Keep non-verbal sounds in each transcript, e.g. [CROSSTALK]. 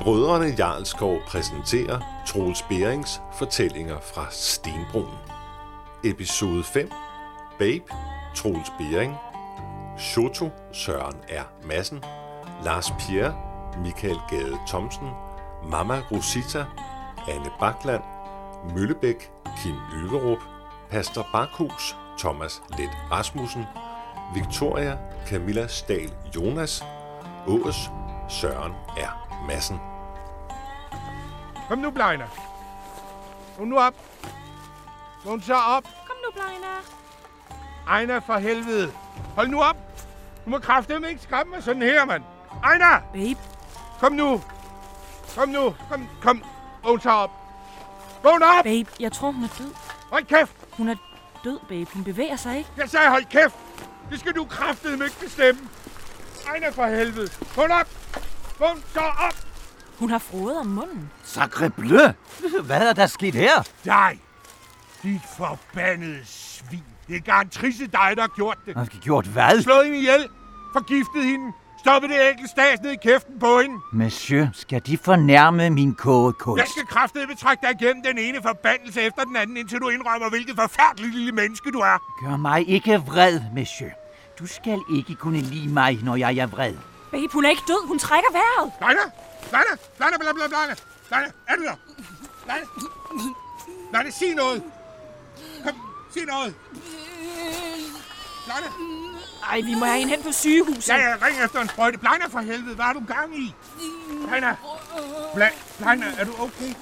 Brødrene Jarlskov præsenterer Troels Berings fortællinger fra Stenbroen. Episode 5. Babe, Troels Bering, Shoto, Søren R. Madsen, Lars Pierre, Michael Gade Thomsen, Mama Rosita, Anne Bakland, Møllebæk, Kim Lyverup, Pastor Bakhus, Thomas Let Rasmussen, Victoria, Camilla Stahl Jonas, Ås, Søren R. Madsen. Kom nu, Blejner. Vågn nu op. Vågn så op. Kom nu, Blejna. Ejner for helvede. Hold nu op. Du må kraftedeme ikke skræmme mig sådan her, mand. Ejner, Babe. kom nu. Kom nu. Kom, kom. Vågn så op. Vågn op. Babe, jeg tror, hun er død. Hold kæft. Hun er død, babe. Hun bevæger sig ikke. Jeg sagde hold kæft. Det skal du kraftedeme ikke bestemme. Ejner for helvede. Vågn op. Vågn så op. Hun har frodet om munden. Sacre bleu! Hvad er der sket her? Dig. Dit forbandede svin. Det er garantrise dig, der har gjort det. Har vi gjort hvad? Slået hende ihjel. Forgiftet hende. Stoppet det enkelte stas ned i kæften på hende. Monsieur, skal de fornærme min kogekunst? Jeg skal kraftedeme trække dig igennem den ene forbandelse efter den anden, indtil du indrømmer, hvilket forfærdeligt lille menneske du er. Gør mig ikke vred, monsieur. Du skal ikke kunne lide mig, når jeg er vred. Babe, hun er ikke død. Hun trækker vejret. Lejna! Lejna! Lejna, bla, bla, Lejna! Lejna, er du der? Lejna! Lejna, sig noget! Kom, sig noget! Lejna! Ej, vi må have hende hen på sygehuset. Ja, ja, ring efter en sprøjte. Lejna for helvede, hvad har du gang i? Lejna! Bla, Lejna, er du okay?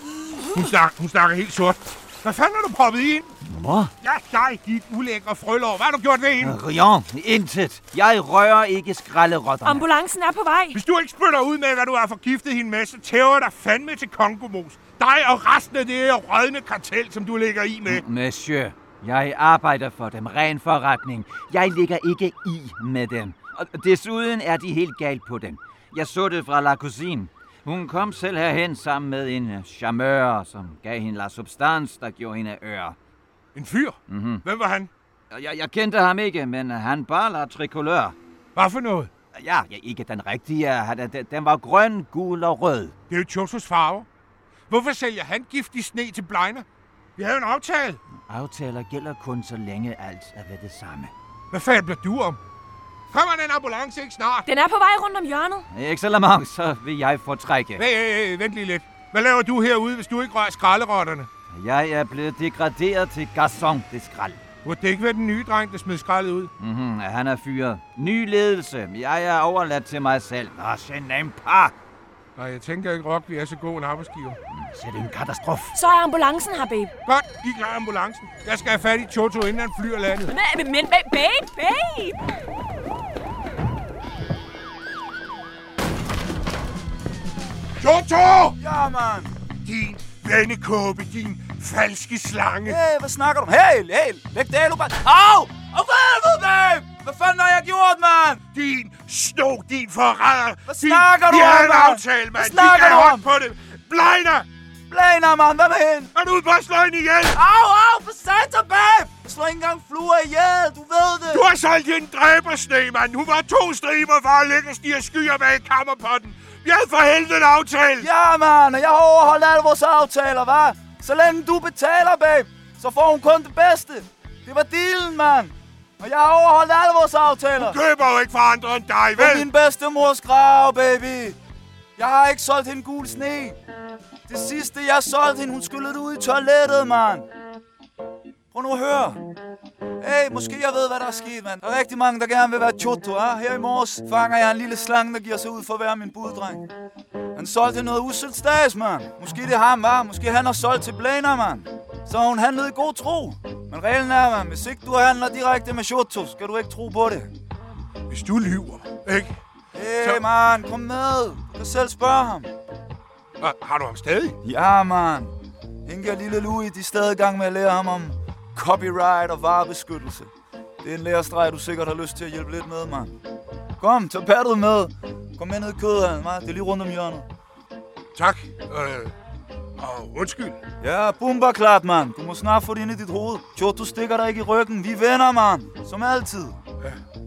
Hun snakker, hun snakker helt sort. Hvad fanden har du proppet i hende? Hvor? Ja, dig, dit ulækre frølår. Hvad har du gjort ved hende? Rien. Intet. Jeg rører ikke skralderotterne. Ambulancen er på vej. Hvis du ikke spytter ud med, hvad du har forgiftet hende med, så tæver jeg dig fandme til Kongomos. Dig og resten af det her rødne kartel, som du ligger i med. Monsieur, jeg arbejder for dem. Ren forretning. Jeg ligger ikke i med dem. Og desuden er de helt galt på den. Jeg så det fra La Cousine. Hun kom selv herhen sammen med en øh, charmeur, som gav hende la substans, der gjorde hende øre. En fyr? Mm-hmm. Hvem var han? Og Jeg, jeg kendte ham ikke, men øh, han bar la tricolør. Hvad for noget? Ja, ja, ikke den rigtige. Han- øh, Den den var grøn, gul og rød. Det er jo Chosos farver. Hvorfor sælger han giftig sne til blegner? Vi havde en aftale. Aftaler gælder kun, så længe alt er ved det samme. Hvad fanden bliver du om? Kommer den ambulance ikke snart? Den er på vej rundt om hjørnet. Excellent, så vil jeg fortrække. Hey, hey, hey, vent lige lidt. Hvad laver du herude, hvis du ikke rører skralderotterne? Jeg er blevet degraderet til garçon det skrald. Burde det ikke være den nye dreng, der smed skraldet ud? Mm-hmm, han er fyret. Ny ledelse. Jeg er overladt til mig selv. Nå, send en par. Nej, jeg tænker ikke, Rock, vi er så god en arbejdsgiver. Så er det en katastrof. Så er ambulancen her, babe. Godt, I klarer ambulancen. Jeg skal have fat i Toto, inden han flyer landet. Men, men- men ba- babe, babe. Toto! Ja, mand. Din vennekåbe, din falske slange. Hey, hvad snakker du om? Hey, hey, læg det af nu, mand. Au! Au, for helvede, babe! Hvad fanden har jeg gjort, mand? Din snog, din forræder. Hvad snakker din, du Vi om, havde en mand? aftale, Hvad mand. Vi snakker kan du holde om? på det. Blejner! Planer, mand. Hvad med hende? Er du ude på at slå hende ihjel? Au, au, for satan, babe! Jeg slår ikke engang fluer ihjel, du ved det. Du har solgt hende dræbersne, mand. Hun var to striber for at lægge og stige skyer bag kammerpotten. Vi havde for helvede en aftale. Ja, mand, og jeg har overholdt alle vores aftaler, hva'? Så længe du betaler, babe, så får hun kun det bedste. Det var dealen, mand. Og jeg har overholdt alle vores aftaler. Køber jo ikke for andre end dig, På vel? min bedstemors grav, baby. Jeg har ikke solgt hende gul sne. Det sidste, jeg solgte hende, hun skyllede ud i toilettet, mand. Prøv nu at høre. Hey, måske jeg ved, hvad der er sket, mand. Der er rigtig mange, der gerne vil være choto, ah. Her i morges fanger jeg en lille slange, der giver sig ud for at være min buddreng. Han solgte noget uselt stads, mand. Måske det er ham, var. Måske han har solgt til Blaner, mand. Så har hun handlede i god tro. Men reglen er, mand, hvis ikke du handler direkte med choto, skal du ikke tro på det. Hvis du lyver, ikke? Hey, Så- man, kom med. Du kan selv spørge ham. Og Har du ham stadig? Ja, man. Inge og lille Louis, de er stadig i gang med at lære ham om copyright og varebeskyttelse. Det er en lærerstreg, du sikkert har lyst til at hjælpe lidt med, mand. Kom, tag pattet med. Kom med ned i kødhallen, hva'? Det er lige rundt om hjørnet. Tak. Øh, og undskyld. Ja, bumba klart, mand. Du må snart få det ind i dit hoved. Chot, du stikker dig ikke i ryggen. Vi venner, mand. Som altid.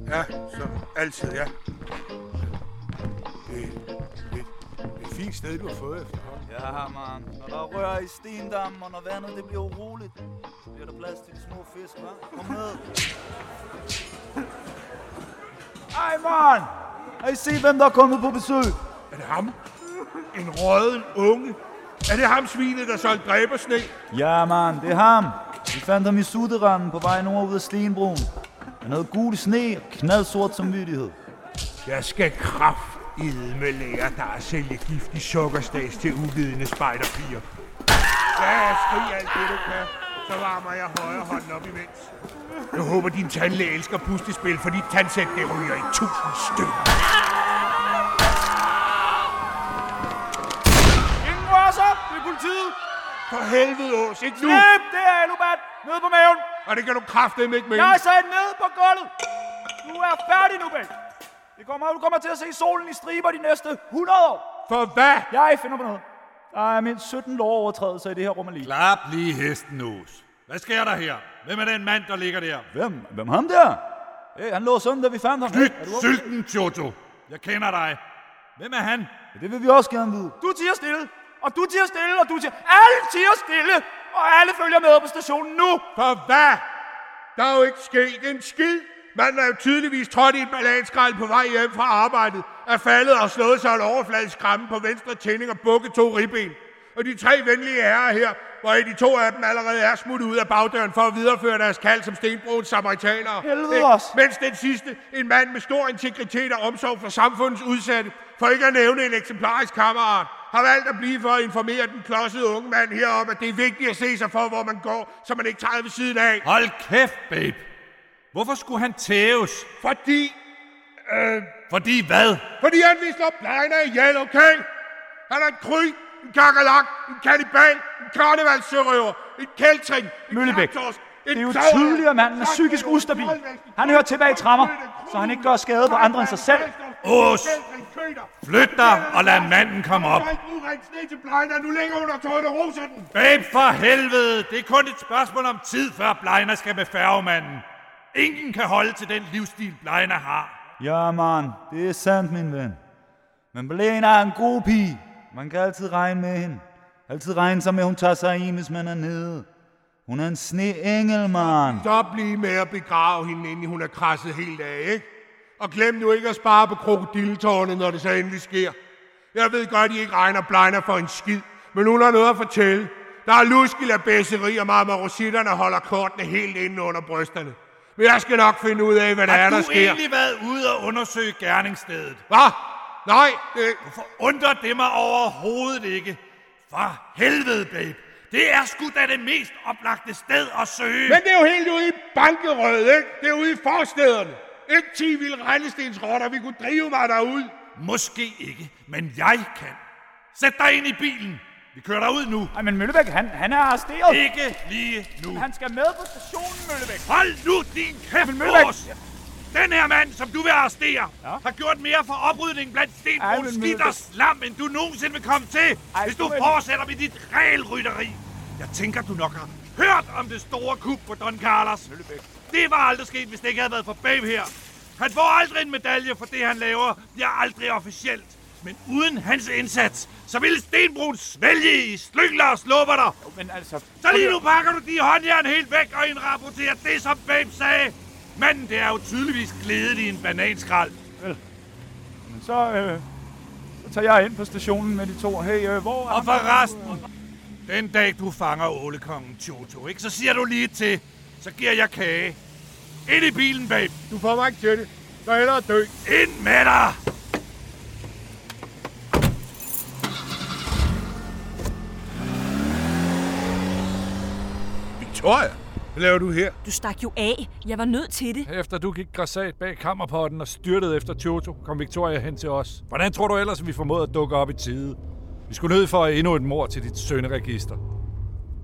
Ja, som altid, ja. Det, det, det fint sted, du har fået efterhånden. Ja, man. Når der rører i stendammen, og når vandet det bliver uroligt, så bliver der plads til de små fisk, hva'? Kom ned. Ej, man! Har I set, hvem der er kommet på besøg? Er det ham? En røden unge? Er det ham svinet, der solgte dræbersne? Ja, man. Det er ham. Vi fandt ham i suderanden på vej nord ud af Stenbroen. Han havde gul sne og knaldsort samvittighed. Jeg skal kraft med lære dig at sælge giftig sukkerstads til uvidende spejderpiger. Ja, skrig alt det, du kan. Så varmer jeg højre hånd op imens. Jeg håber, din tandlæge elsker pustespil, for dit tandsæt, det ryger i tusind stykker. Ingen rører sig! Det er politiet! For helvede, Ås, ikke nu! Slip! Det er Alubat! Ned på maven! Og det kan du kraftedeme ikke mene. Jeg sagde ned på gulvet! Du er færdig nu, Bæk! Det kommer, du kommer til at se solen i striber de næste 100 år! For hvad? Jeg finder på noget. Der er mindst 17 lovovertrædelser i det her rum alene. Klap lige hesten, Os. Hvad sker der her? Hvem er den mand, der ligger der? Hvem? Hvem ham der? Hey, han lå sådan, da vi fandt ham. Nyt Hey, er du okay? sylten, Jojo. Jeg kender dig. Hvem er han? Det vil vi også gerne vide. Du tiger stille, og du tiger stille, og du tiger... Alle tiger stille, og alle følger med op på stationen nu. For hvad? Der er jo ikke sket en skid. Manden er jo tydeligvis trådt i en balansgræl på vej hjem fra arbejdet, er faldet og slået sig en overfladisk kramme på venstre tænding og bukket to ribben. Og de tre venlige herrer her, hvor de to af dem allerede er smuttet ud af bagdøren for at videreføre deres kald som stenbroens samaritanere. Helvede Ikke? også. Mens den sidste, en mand med stor integritet og omsorg for samfundets udsatte, for ikke at nævne en eksemplarisk kammerat, har valgt at blive for at informere den klodsede unge mand herom, at det er vigtigt at se sig for, hvor man går, så man ikke træder ved siden af. Hold kæft, babe. Hvorfor skulle han tæves? Fordi, Fordi hvad? fordi han vil slå plejerne ihjel, okay? Han er en kry, en kakalak, en kannibal, en karnevalssørøver, en kæltring, en Møllebæk, klaptorsk, en Det er jo klaver, tydeligt, at manden er en psykisk klatreøver, ustabil. en troldvækst, en Han hører til bag troldvækst, tremmer, en så han ikke gør skade på andre end sig selv. Ås, flyt dig og lad manden komme op. Der er ikke urent sne til plejerne, nu ligger hun og tårer det roser den. Babe, for helvede. Det er kun et spørgsmål om tid, før Blejner skal med færgemanden. Ingen kan holde til den livsstil, Blejner har. Ja, man. Det er sandt, min ven. Men Belén er en god pige. Man kan altid regne med hende. Altid regne sig med, at hun tager sig i, hvis man er nede. Hun er en sneengel, man. Stop lige med at begrave hende, inden hun er krasset helt af, ikke? Og glem nu ikke at spare på krokodilletårnet, når det så endelig sker. Jeg ved godt, I ikke regner blegner for en skid, men hun har noget at fortælle. Der er luskil af bæsseri, og mamma rositterne holder kortene helt inde under brysterne. Men jeg skal nok finde ud af, hvad der er, Har der du sker. egentlig været ude og undersøge gerningsstedet? Hvad? Nej, det... For Øh, undrer det mig overhovedet ikke. For helvede, babe. Det er sgu da det mest oplagte sted at søge. Men det er jo helt ude i bankerød, ikke? Det er ude i forstederne. Ikke 10 vilde regnestensrotter, vi kunne drive mig derud. Måske ikke, men jeg kan. Sæt dig ind i bilen. Vi kører dig ud nu. Ej, men Møllebæk, han, han er arresteret. Ikke lige nu. skal med på stationen, Møllebæk. Hold nu din kæft, Mølbæk- Mors! Den her mand, som du vil arrestere, ja? har gjort mere for oprydningen blandt Ej, stenbrug, men skidt og Mølbæk- slam, end du nogensinde vil komme til, Ej, hvis du men- fortsætter med dit regelrytteri. Jeg tænker, du nok har hørt om det store kub på Don Carlos. Det var aldrig sket, hvis det ikke havde været for Babe her. Han får aldrig en medalje for det, han laver, bliver aldrig officielt. Men uden hans indsats, så ville Stenbrun svælge i slyngler og slupperter. Men altså... Så lige nu pakker du de håndjern helt væk og indrapporterer det, som Babe sagde. Manden, det er jo tydeligvis glædet i en bananskrald. Så, øh, så tager jeg ind på stationen med de to. Hey, øh, hvor er Og for resten, den dag du fanger ålekongen Toto, ikke, så siger du lige til, så giver jeg kage. Ind i bilen, Babe. Du får mig ikke til det. Så hellere dø. Ind med dig! Victoria, hvad laver du her? Du stak jo af. Jeg var nødt til det. Efter du gik græsat bag kammerpotten og styrtede efter Toto, kom Victoria hen til os. Hvordan tror du ellers, at vi formåede at dukke op i tide? Vi skulle ned for endnu et mor til dit sønderegister.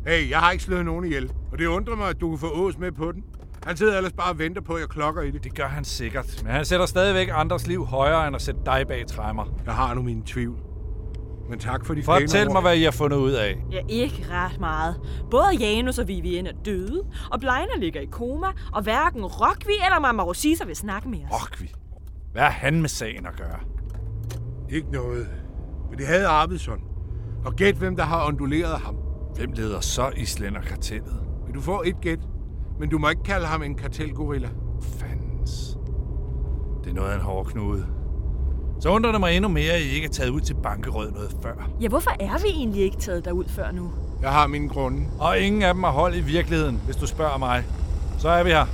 Hey, jeg har ikke slået nogen ihjel, og det undrer mig, at du kan få Ås med på den. Han sidder ellers bare og venter på, at jeg klokker i det. Det gør han sikkert, men han sætter stadigvæk andres liv højere end at sætte dig bag træmmer. Jeg har nu mine tvivl. Men tak for de Fortæl pæne mig, ord. hvad I har fundet ud af. Ja, ikke ret meget. Både Janus og Vivienne er døde, og Blejner ligger i koma, og hverken Rockvi eller Mama Rosisa vil snakke med os. Rokvi. Hvad har han med sagen at gøre? Ikke noget. Men det havde Arvidsson. Og gæt, hvem der har onduleret ham. Hvem leder så Islænderkartellet? Men du får et gæt. Men du må ikke kalde ham en kartelgorilla. Fandens. Det er noget af en hård knude. Så undrer det mig endnu mere, at I ikke er taget ud til bankerød noget før. Ja, hvorfor er vi egentlig ikke taget derud før nu? Jeg har mine grunde. Og ingen af dem har hold i virkeligheden, hvis du spørger mig. Så er vi her.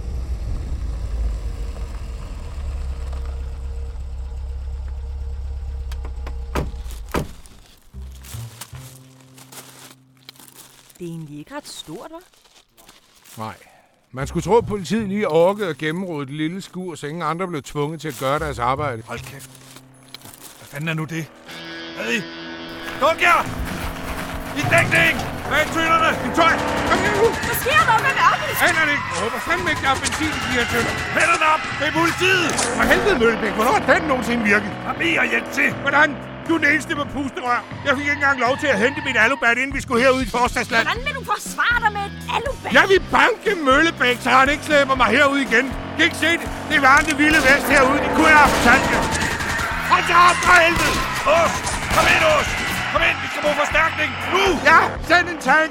Det er egentlig ikke ret stort, hva'? Nej. Man skulle tro, at politiet lige orkede at gennemrode et lille skur, så ingen andre blev tvunget til at gøre deres arbejde. Hold kæft. Hvad fanden er nu det? Hey! Luk jer! I dækning! Bag tønderne! En tøj! Kom her nu! Hvad sker der? Hvad er det? Aner det ikke! Jeg håber fandme ikke, der er benzin i de her tønder. Hænderne op! Det er politiet! For helvede, Møllebæk, hvornår har den nogensinde virket? Kom i og hjælp til! Hvordan? Du er den eneste med pusterør. Jeg fik ikke engang lov til at hente mit alubat, inden vi skulle herud i forstadsland. Hvordan vil du forsvare dig med et alubat? Jeg vil banke Møllebæk, så han ikke slæber mig herud igen. Kan I ikke se det? Det var det vilde vest herude. Det kunne jeg have fortalt jer. Hold jer op for helvede! Ås! Kom ind, Ås! Kom ind! Vi skal bruge forstærkning! Nu! Ja, send en tank.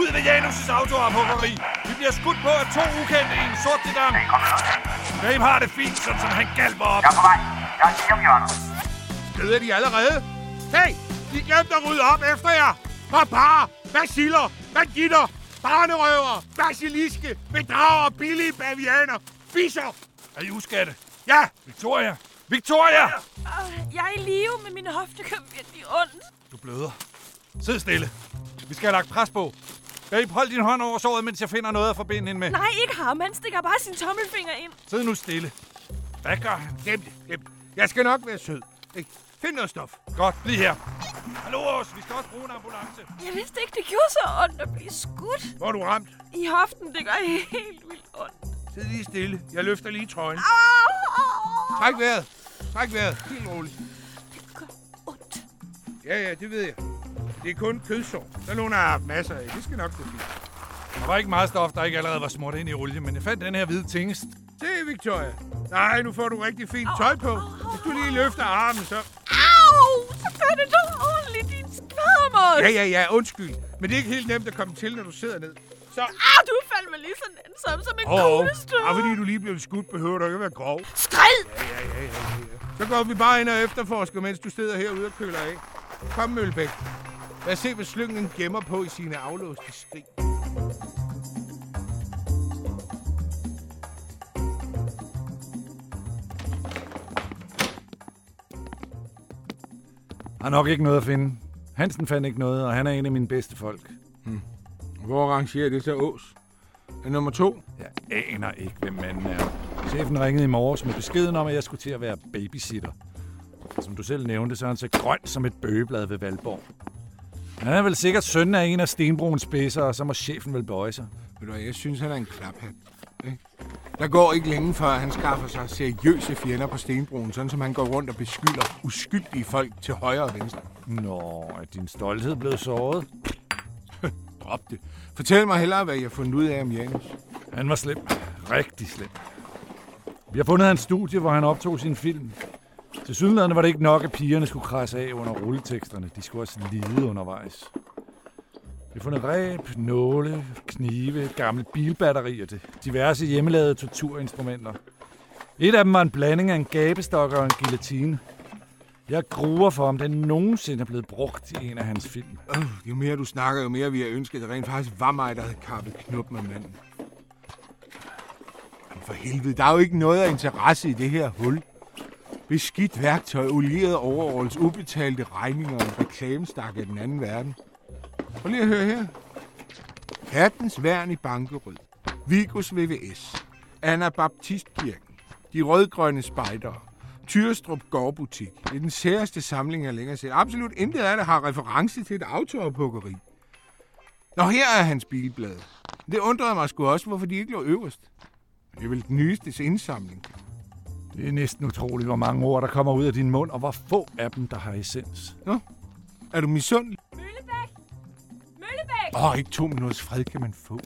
Ud ved Janus' autoophuggeri! Vi bliver skudt på af to ukendte i en sort sedan. Hvem har det fint, sådan som han galper op? Ved de allerede? Hey, de glemte at rydde op efter jer. Barbarer, basiler, banditter, barnerøver, basiliske, bedrager, billige bavianer, fisser. Er I uskatte? Ja, Victoria! Victoria! Øh, Jeg er i live, men mine hofter gør virkelig ondt. Du bløder. Sid stille. Vi skal have lagt pres på. Babe, hold din hånd over såret, mens jeg finder noget at forbinde hende med. Nej, ikke ham. Han stikker bare sin tommelfinger ind. Sid nu stille. Hvad gør han? glem det, glem det. Jeg skal nok være sød. Ikke? Find noget stof. Godt, bliv her. Hallo, Ås. Vi skal også bruge en ambulance. Jeg vidste ikke, det gjorde så ondt at blive skudt. Hvor er du ramt? I hoften, det gør helt vildt ondt. Sid lige stille. Jeg løfter lige trøjen. Åh, Træk vejret. Træk vejret. Helt roligt. det gør ondt. Ja, ja, det ved jeg. Det er kun kødsår. Der låner jeg haft masser af. Det skal nok gå fint. Der var ikke meget stof, der ikke allerede var smurt ind i olie, men jeg fandt den her hvide tingest. Se, Victoria. Nej, nu får du rigtig fint tøj på. Hvis du lige løfter armen, så... Au, så gør det dog ordentligt, din skvarmål. Ja, ja, ja, undskyld. Men det er ikke helt nemt at komme til, når du sidder ned. Så... Ah, du faldt mig lige så ensom som en oh, kuglestød. Og fordi du lige blev skudt, behøver du ikke at være grov. Skræl! Så går vi bare ind og efterforsker, mens du sidder herude og køler af. Kom, Mølbæk. Lad os se, hvad slyngen gemmer på i sine aflåste skrig. Har nok ikke noget at finde. Hansen fandt ikke noget, og han er en af mine bedste folk. Hvor rangerer det så Ås? Er nummer to? Jeg aner ikke, hvem manden er. Chefen ringede i morges med beskeden om, at jeg skulle til at være babysitter. Som du selv nævnte, så er han så grøn som et bøgeblad ved Valborg. Han er vel sikkert søn af en af Stenbruns spidser, og så må chefen vel bøje sig. Ved du hvad, jeg synes, han er en klaphat. Ikke? Der går ikke længe før, han skaffer sig seriøse fjender på Stenbroen, sådan som han går rundt og beskylder uskyldige folk til højre og venstre. Nå, er din stolthed blevet såret? Drop det. Fortæl mig hellere, hvad jeg har fundet ud af om Janus. Han var slem. Rigtig slem. Vi har fundet hans studie, hvor han optog sin film. Til sydenlandet var det ikke nok, at pigerne skulle krasse af under rulleteksterne. De skulle også lide undervejs. Vi har fundet ræb, nåle, knive, gamle bilbatterier, det- diverse hjemmelavede torturinstrumenter. Et af dem var en blanding af en gabestok og en guillotine. Jeg gruer for, om den nogensinde er blevet brugt i en af hans film. Øh, jo mere du snakker, jo mere vi har ønsket, det rent faktisk var mig, der havde kappet knop med manden. Men for helvede, der er jo ikke noget af interesse i det her hul. Beskidt værktøj, olieret overholds, ubetalte regninger og en reklamestak af den anden verden. Prøv lige at høre her. Kattens værn i Bankerød. Vigus VVS. Anna Baptistkirken. De rødgrønne spejdere. Tyrstrup Gårdbutik. Det er den særeste samling, jeg længere set. Absolut intet af det har reference til et autoophuggeri. Nå, her er hans bilblad. Det undrede mig sgu også, hvorfor de ikke lå øverst. Det er vel den nyeste indsamling. Det er næsten utroligt, hvor mange ord, der kommer ud af din mund, og hvor få af dem, der har essens. Er du misundelig? Møllebæk! Møllebæk! Åh, oh, ikke to minutters fred kan man få.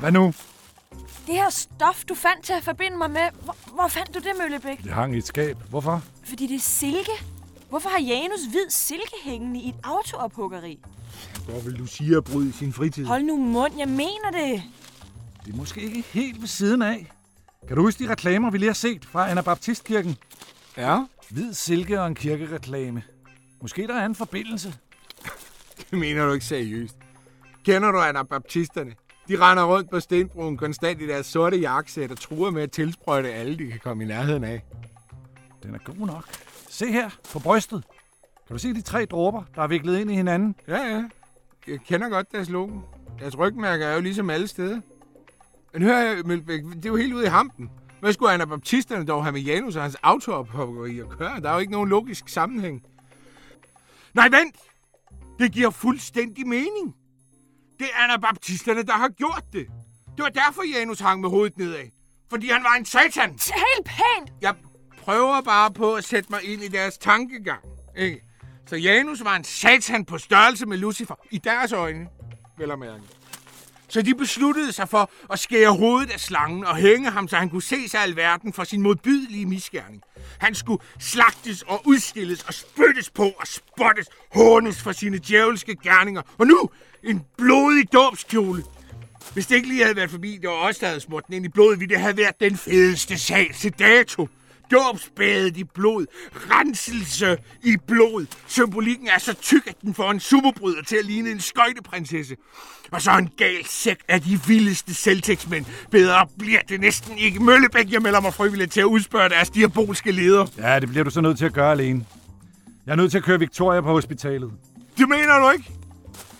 Hvad nu? Det her stof, du fandt til at forbinde mig med, hvor, hvor fandt du det, Møllebæk? Det hang i et skab. Hvorfor? Fordi det er silke. Hvorfor har Janus hvid silke hængende i et autoophuggeri? Hvor vil du sige at bryde sin fritid? Hold nu mund, jeg mener det. Det er måske ikke helt ved siden af. Kan du huske de reklamer, vi lige har set fra Anabaptistkirken? Ja, Hvid silke og en kirkereklame. Måske der er en forbindelse. [LAUGHS] det mener du ikke seriøst. Kender du anabaptisterne? De render rundt på Stenbroen konstant i deres sorte jakkesæt og truer med at tilsprøjte alle, de kan komme i nærheden af. Den er god nok. Se her, på brystet. Kan du se de tre dråber, der er viklet ind i hinanden? Ja, ja. Jeg kender godt deres logo. Deres rygmærker er jo ligesom alle steder. Men hør her, Mølbæk, det er jo helt ude i hampen. Hvad skulle anabaptisterne dog have med Janus og hans autoophopperi at køre? Der er jo ikke nogen logisk sammenhæng. Nej, vent! Det giver fuldstændig mening. Det er anabaptisterne, der har gjort det. Det var derfor, Janus hang med hovedet nedad. Fordi han var en satan. Tal pænt! Jeg prøver bare på at sætte mig ind i deres tankegang. Ikke? Så Janus var en satan på størrelse med Lucifer. I deres øjne, vel at mærke. Så de besluttede sig for at skære hovedet af slangen og hænge ham, så han kunne se sig alverden for sin modbydelige misgerning. Han skulle slagtes og udstilles og spyttes på og spottes, hånes for sine djævelske gerninger. Og nu en blodig dåbskjole. Hvis det ikke lige havde været forbi, det var os, der havde smurt den ind i blodet, ville det have været den fedeste sag til dato. Dåbsbadet i blod, renselse i blod. Symbolikken er så tyk, at den får en superbryder til at ligne en skøjteprinsesse. Og så en gal sæk af de vildeste selvtægtsmænd. Bedre bliver det næsten ikke. Møllebæk, jeg melder mig frivilligt til at udspørge deres diabolske leder. Ja, det bliver du så nødt til at gøre alene. Jeg er nødt til at køre Victoria på hospitalet. Det mener du ikke?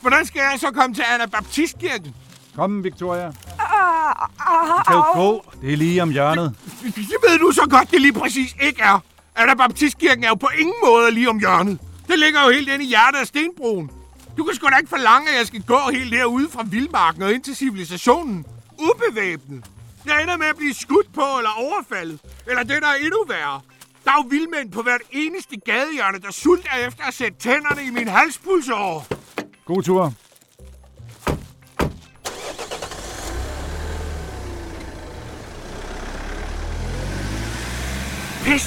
Hvordan skal jeg så komme til Anabaptistkirken? Kom, Victoria. Du kan jo gå. Det er lige om hjørnet. Det ved du så godt, det lige præcis ikke er. Anabaptistkirken er jo på ingen måde lige om hjørnet. Det ligger jo helt inde i hjertet af Stenbroen. Du kan sgu da ikke forlange, at jeg skal gå helt derude fra vildmarken og ind til civilisationen. Ubevæbnet. Jeg ender med at blive skudt på eller overfaldet. Eller det, der er endnu værre. Der er jo vildmænd på hvert eneste gadehjørne, der sulter efter at sætte tænderne i min halspulsår. God tur. Pis!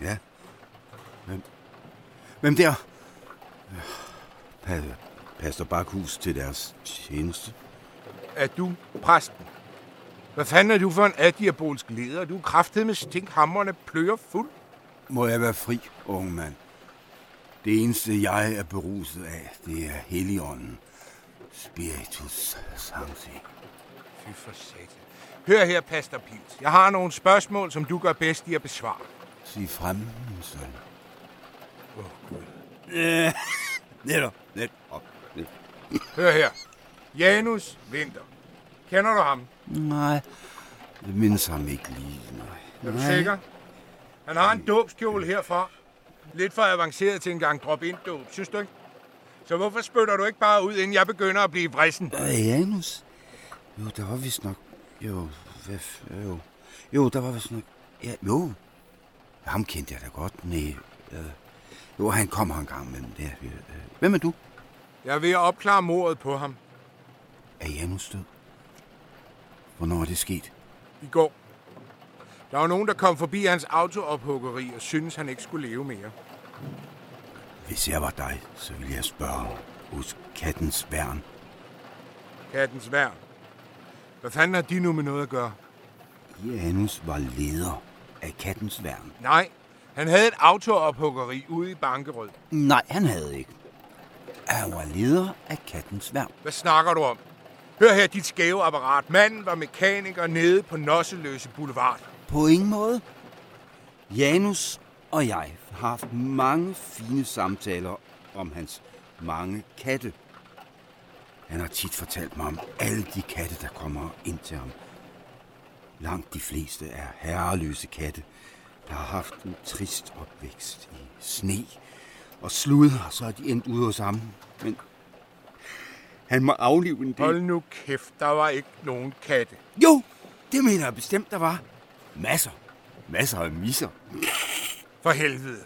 Ja. Hvem? Hvem der? Pas, pastor Bakhus til deres tjeneste. er du præsten. Hvad fanden er du for en adiabolsk leder? Du er kraftet med stinkhammerne pløjer fuld. Må jeg være fri, unge mand. Det eneste, jeg er beruset af, det er Helligånden. Spiritus Sancti. Fy for satan. Hør her, Pastor Pils. Jeg har nogle spørgsmål, som du gør bedst i at besvare. Sig frem, min søn. Åh, Gud. Netop, netop. Hør her. Janus Winter. Kender du ham? Nej, det mindes ham ikke lige, nej. Er du sikker? Han har en dåbskjole herfra. Lidt for avanceret til en gang drop ind dåb synes du ikke? Så hvorfor spytter du ikke bare ud, inden jeg begynder at blive vrissen? Øh, Janus? Jo, der var vist nok... Jo, hvad... f- Jo, jo der var vist nok... Ja, jo. Ham kendte jeg da godt. Nej, øh, jo, han kommer en gang imellem der. Øh, øh. Hvem er du? Jeg er ved at opklare mordet på ham Er Janus død? Hvornår er det sket? i går. Der var nogen, der kom forbi hans autoophuggeri og syntes, han ikke skulle leve mere. Hvis jeg var dig, så ville jeg spørge hos kattens værn. Kattens værn. Hvad fanden har de nu med noget at gøre? Janus var leder af kattens værn. Nej, han havde et autoophuggeri ude i Bankerød. Nej, han havde ikke. Han var leder af kattens værn. Hvad snakker du om? Hør her, dit skæve apparat. Manden var mekaniker nede på Nosseløse Boulevard. På ingen måde. Janus og jeg har haft mange fine samtaler om hans mange katte. Han har tit fortalt mig om alle de katte, der kommer ind til ham. Langt de fleste er herreløse katte, der har haft en trist opvækst i sne og slud, og så er de endt ude hos ham. Men han må aflive en del. Hold nu kæft, der var ikke nogen katte. Jo, det mener jeg bestemt, der var. Masser. Masser af misser. For helvede.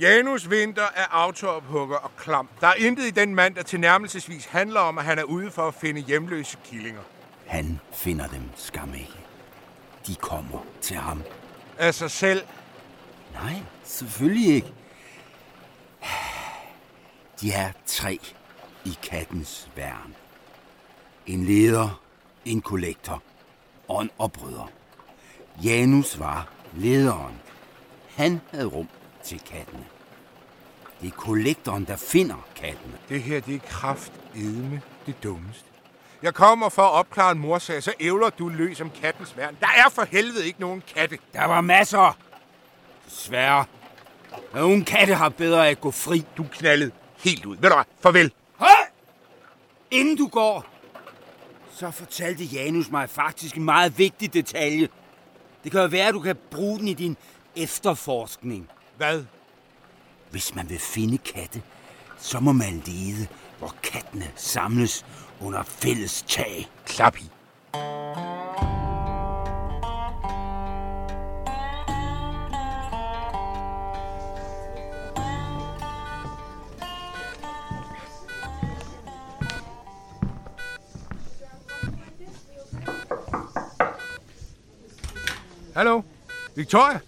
Janus Vinter er autoophugger og klam. Der er intet i den mand, der tilnærmelsesvis handler om, at han er ude for at finde hjemløse killinger. Han finder dem, skam ikke. De kommer til ham. Af sig Altså selv. Nej, selvfølgelig ikke. De er tre i kattens værn. En leder, en kollektor og en oprydder. Janus var lederen. Han havde rum til kattene. Det er kollektoren, der finder kattene. Det her, det er kraft edme det dummeste. Jeg kommer for at opklare en morsag, så ævler du løs om kattens værn. Der er for helvede ikke nogen katte. Der var masser. Desværre. Nogle katte har bedre af at gå fri. Du er knaldet helt ud. Ved du hvad? Farvel. Høj! Inden du går, så fortalte Janus mig faktisk en meget vigtig detalje. Det kan jo være, at du kan bruge den i din efterforskning. Hvad? Hvis man vil finde katte, så må man lede, hvor kattene samles under fælles tag. Klap i. Hallo? Victoria?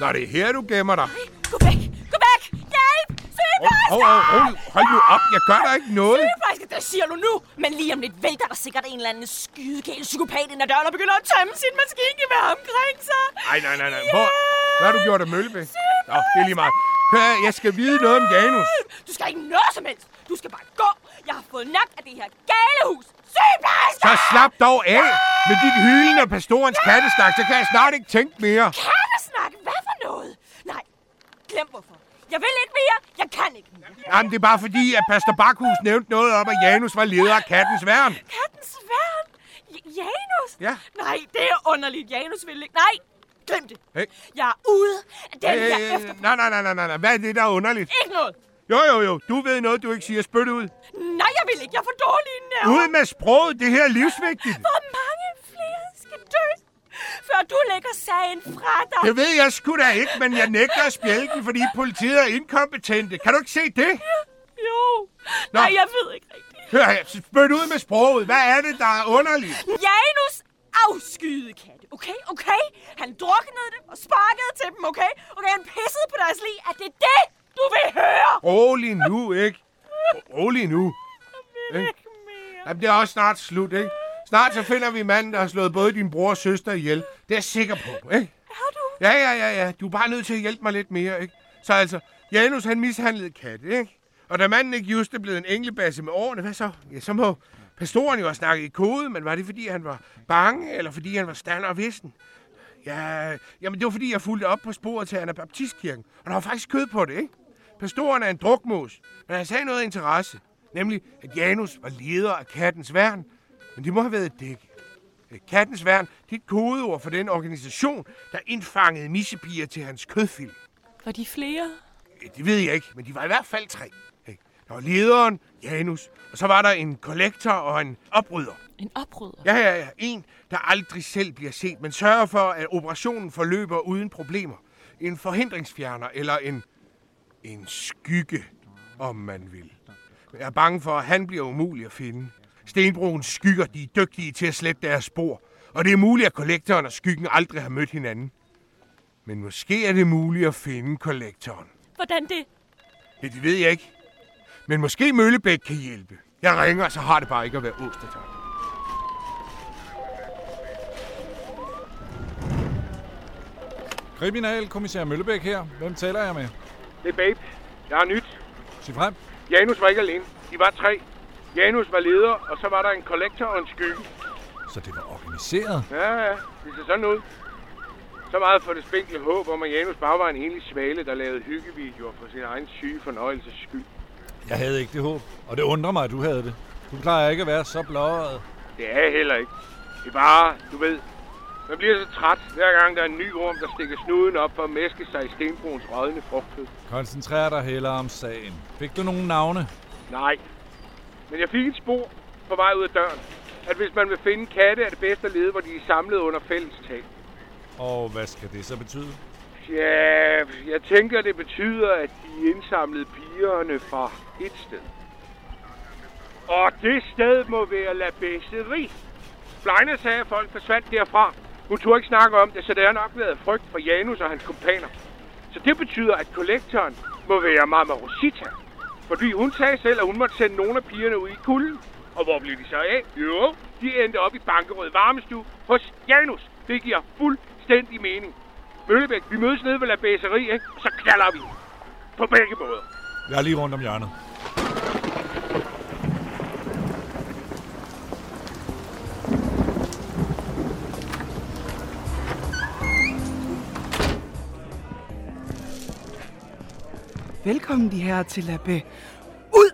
Nå, det er her, du gemmer dig. Gå væk! Gå væk! Hjælp! Sygeplejerske! Hov, hov, hov, hold nu op. Jeg gør der ikke noget. Sygeplejerske, det siger du nu! Men lige om lidt vælter der sikkert en eller anden skydegæld psykopat ind ad døren og begynder at tømme sin maskingevær omkring sig. Nej, nej, nej, nej. Hvor? Hvad har du gjort af Møllebæk? Nå, det er lige meget. Hør, her, jeg skal vide noget om Janus. Du skal ikke noget som helst! Du skal bare gå! Jeg har fået nok af det her galehus! Sygeplejerske! Så slap dog af med dit hylen og pastorens kattesnak, så kan jeg snart ikke tænke mere. Kattesnak! Hvad for noget? Nej, glem hvorfor. Jeg vil ikke mere. Jeg kan ikke mere. Jamen, det er bare fordi, at Pastor Bakhus nævnte noget om, at Janus var leder af kattens værn. Kattens værn? J- Janus? Ja. Nej, det er underligt. Janus vil ikke. Nej, glem det. Hey. Jeg er ude af den her Øh, efter. nej, nej, nej, nej, nej, nej. Hvad er det, der er underligt? Ikke noget. Jo, jo, jo. Du ved noget, du ikke siger. Spyt ud. Nej, jeg vil ikke. Jeg får dårlige nerver. Ud med sproget. Det her er livsvigtigt. Hvor mange flere skal dø, før du lægger sagen fra dig? Det ved jeg sgu da ikke, men jeg nægter at spjælde den, fordi politiet er inkompetente. Kan du ikke se det? Jo. Nå. Nej, jeg ved ikke rigtigt. Hør her, spyt ud med sproget. Hvad er det, der er underligt? Janus afskyede katte, okay? Okay? Han druknede dem og sparkede til dem, okay? Okay, han pissede på deres lig. Er det det, du vil høre? Rolig nu, ikke? Rolig nu. Jeg vil ikke mere. Jamen, det er også snart slut, ikke? Snart så finder vi manden, der har slået både din bror og søster ihjel. Det er jeg sikker på, ikke? Er du? Ja, ja, ja, ja. Du er bare nødt til at hjælpe mig lidt mere, ikke? Så altså, Janus han mishandlede katte, ikke? Og da manden ikke just er blevet en englebasse med årene, hvad så? Ja, så må pastoren jo have snakket i kode, men var det fordi, han var bange, eller fordi han var stander og vissen? Ja, jamen det var fordi, jeg fulgte op på sporet til Anabaptistkirken, og der var faktisk kød på det, ikke? Pastoren er en drukmos, men han sagde noget af interesse, nemlig at Janus var leder af kattens værn, men det må have været et dække. Kattens Værn, det er et kodeord for den organisation, der indfangede missepiger til hans kødfilm. Var de flere? Øh, Det ved jeg ikke, men de var i hvert fald tre. Hey, Der var lederen, Janus, og så var der en kollektor og en oprydder. En oprydder? Ja, ja, ja. En, der aldrig selv bliver set, men sørger for, at operationen forløber uden problemer. En forhindringsfjerner eller en, en skygge, om man vil. Men Jeg er bange for, at han bliver umulig at finde. Stenbroens skygger, de er dygtige til at slette deres spor. Og det er muligt, at kollektoren og skyggen aldrig har mødt hinanden. Men måske er det muligt at finde kollektoren. Hvordan det? Ja, det ved jeg ikke. Men måske Møllebæk kan hjælpe. Jeg ringer, så har det bare ikke at være Ostertag. Kriminalkommissær Møllebæk her. Hvem taler jeg med? Det er Babe. Jeg har nyt. Sig frem. Janus var ikke alene. De var tre. Janus var leder, og så var der en kollektor og en skygge. Så det var organiseret? Ja, ja. Det ser sådan ud. Så meget for det spinkle håb om, at Janus bare var en enlig svale, der lavede hyggevideoer for sin egen syge fornøjelses skyld. Jeg havde ikke det håb, og det undrer mig, at du havde det. Du plejer ikke at være så blåret. Det er jeg heller ikke. Det er bare, du ved, man bliver så træt, hver gang der er en ny orm, der stikker snuden op for at mæske sig i stenbruns rådne frugtkød. Koncentrer dig hellere om sagen. Fik du nogle navne? Nej. Men jeg fik et spor på vej ud af døren, at hvis man vil finde katte, er det bedst at lede, hvor de er samlet under fælles tag. Og hvad skal det så betyde? Ja, jeg tænker, det betyder, at de indsamlede pigerne fra et sted. Og det sted må være La Besseri. Blejne sagde, at folk forsvandt derfra. Hun turde ikke snakke om det, så det har nok været frygt for Janus og hans kompaner. Så det betyder, at kollektoren må være Mama Rosita. Fordi hun sagde selv, at hun måtte sende nogle af pigerne ud i kulden. Og hvor blev de så af? Jo, de endte op i Bankerød Varmestue hos Janus. Det giver fuldstændig mening. Møllebæk, vi mødes nede ved La Besseri, ikke? Og så knaller vi. På begge måder. Jeg er lige rundt om hjørnet. Velkommen de her til Labbe. Ud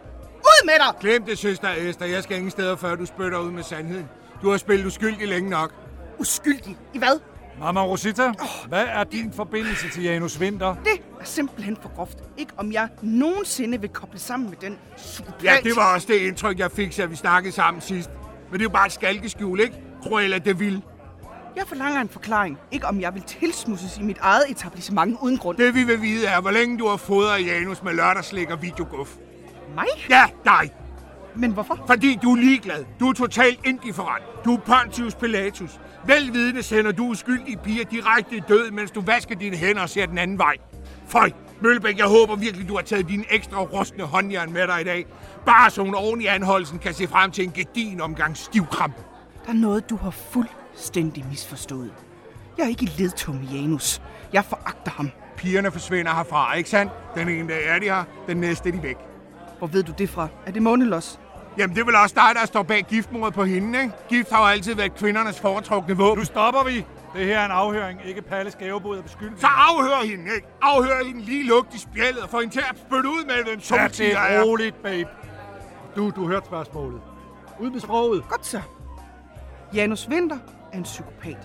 med dig! Glem det, søster Esther. Jeg skal ingen steder, før du spytter ud med sandheden. Du har spillet uskyldig længe nok. Uskyldig? I hvad? Mama Rosita, oh, hvad er din forbindelse til Janus Winter? Det er simpelthen for groft. Ikke om jeg nogensinde vil koble sammen med den psykopat. Ja, det var også det indtryk, jeg fik, da vi snakkede sammen sidst. Men det er jo bare et skalkeskjul, ikke? Cruella de Vil. Jeg forlanger en forklaring. Ikke om jeg vil tilsmusses i mit eget etablissement uden grund. Det vi vil vide er, hvor længe du har fodret Janus med lørdagslik og videoguff. Mig? Ja, dig. Men hvorfor? Fordi du er ligeglad. Du er totalt indifferent. Du er Pontius Pilatus. Velvidende sender du uskyldige piger direkte i død, mens du vasker dine hænder og ser den anden vej. Føj, Møllebæk, jeg håber virkelig, du har taget din ekstra rustne håndjern med dig i dag. Bare så hun oven i anholdelsen kan se frem til en gedin omgang stivkrampe. Der er noget, du har fuldstændig misforstået. Jeg er ikke i ledtum med Janus. Jeg foragter ham. Pigerne forsvinder herfra, ikke sandt? Den ene dag er de her, den næste er de væk. Hvor ved du det fra? Er det månelos? Jamen, det er vel også dig, der står bag giftmordet på hende, ikke? Gift har jo altid været kvindernes foretrukne våben. Nu stopper vi. Det her er en afhøring, ikke Palles gavebod og beskyldning. Så afhør hende, ikke? Afhør hende lige lugt i spjældet og få hende til at spytte ud med, hvem Ja, det sommetider er er. roligt, babe. Du, du hørte spørgsmålet. Ud med sproget. Godt så. Janus Winter er en psykopat.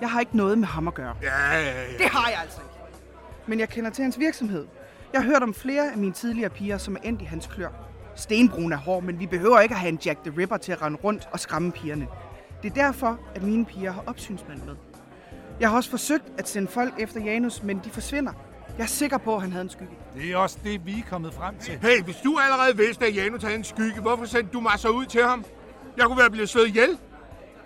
Jeg har ikke noget med ham at gøre. Ja, ja, ja. Det har jeg altså ikke. Men jeg kender til hans virksomhed. Jeg har hørt om flere af mine tidligere piger, som er endt i hans klør. Stenbrun er hård, men vi behøver ikke at have en Jack the Ripper til at rende rundt og skræmme pigerne. Det er derfor, at mine piger har opsynsmand med. Jeg har også forsøgt at sende folk efter Janus, men de forsvinder. Jeg er sikker på, at han havde en skygge. Det er også det, vi er kommet frem til. Hey, hvis du allerede vidste, at Janus havde en skygge, hvorfor sendte du mig så ud til ham? Jeg kunne være blevet slået ihjel.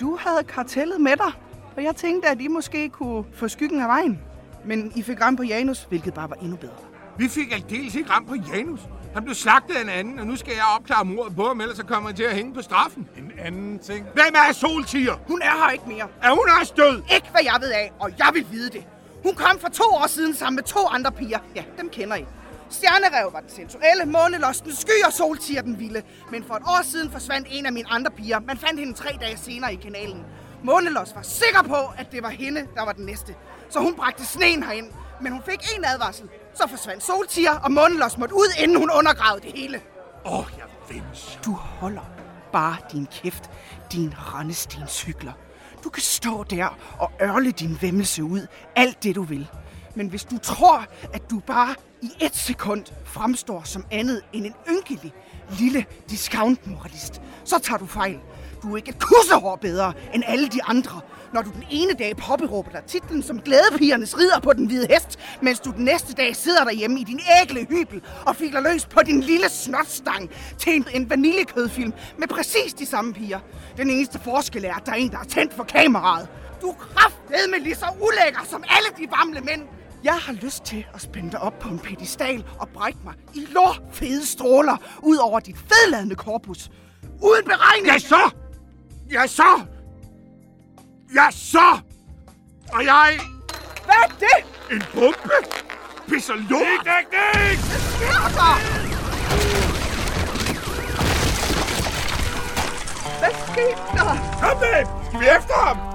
Du havde kartellet med dig, og jeg tænkte, at I måske kunne få skyggen af vejen. Men I fik ramt på Janus, hvilket bare var endnu bedre. Vi fik aldeles ikke ramt på Janus. Han blev slagtet af en anden, og nu skal jeg opklare mordet på ham, ellers så kommer han til at hænge på straffen. En anden ting. Hvem er Soltiger? Hun er her ikke mere. Er hun også død? Ikke hvad jeg ved af, og jeg vil vide det. Hun kom for to år siden sammen med to andre piger. Ja, dem kender I. Stjernerev var den sensuelle, månelos, den sky og soltiger den vilde. Men for et år siden forsvandt en af mine andre piger. Man fandt hende tre dage senere i kanalen. Månelos var sikker på, at det var hende, der var den næste. Så hun bragte sneen herind. Men hun fik en advarsel. Så forsvandt soltiger, og månelos måtte ud, inden hun undergravede det hele. Åh, oh, jeg vindes. Du holder bare din kæft, din rendestenscykler. Du kan stå der og ørle din vemmelse ud, alt det du vil. Men hvis du tror, at du bare i et sekund fremstår som andet end en ynkelig, lille discountmoralist, så tager du fejl. Du er ikke et kussehår bedre end alle de andre, når du den ene dag påberåber dig titlen som glædepigernes ridder på den hvide hest, mens du den næste dag sidder derhjemme i din ægle hybel og fikler løs på din lille snotstang til en, en vaniljekødfilm med præcis de samme piger. Den eneste forskel er, at der er en, der er tændt for kameraet. Du er kraftedme lige så ulækker som alle de gamle mænd. Jeg har lyst til at spænde dig op på en pedestal og brække mig i lår fede stråler ud over dit fedladende korpus. Uden beregning! Ja, så! Ja, så! Ja, så! Og jeg... Hvad er det? En bombe? Pisser lort? Dæk, dæk, Hvad sker der? Hvad skete der? Kom med! Skal vi efter ham?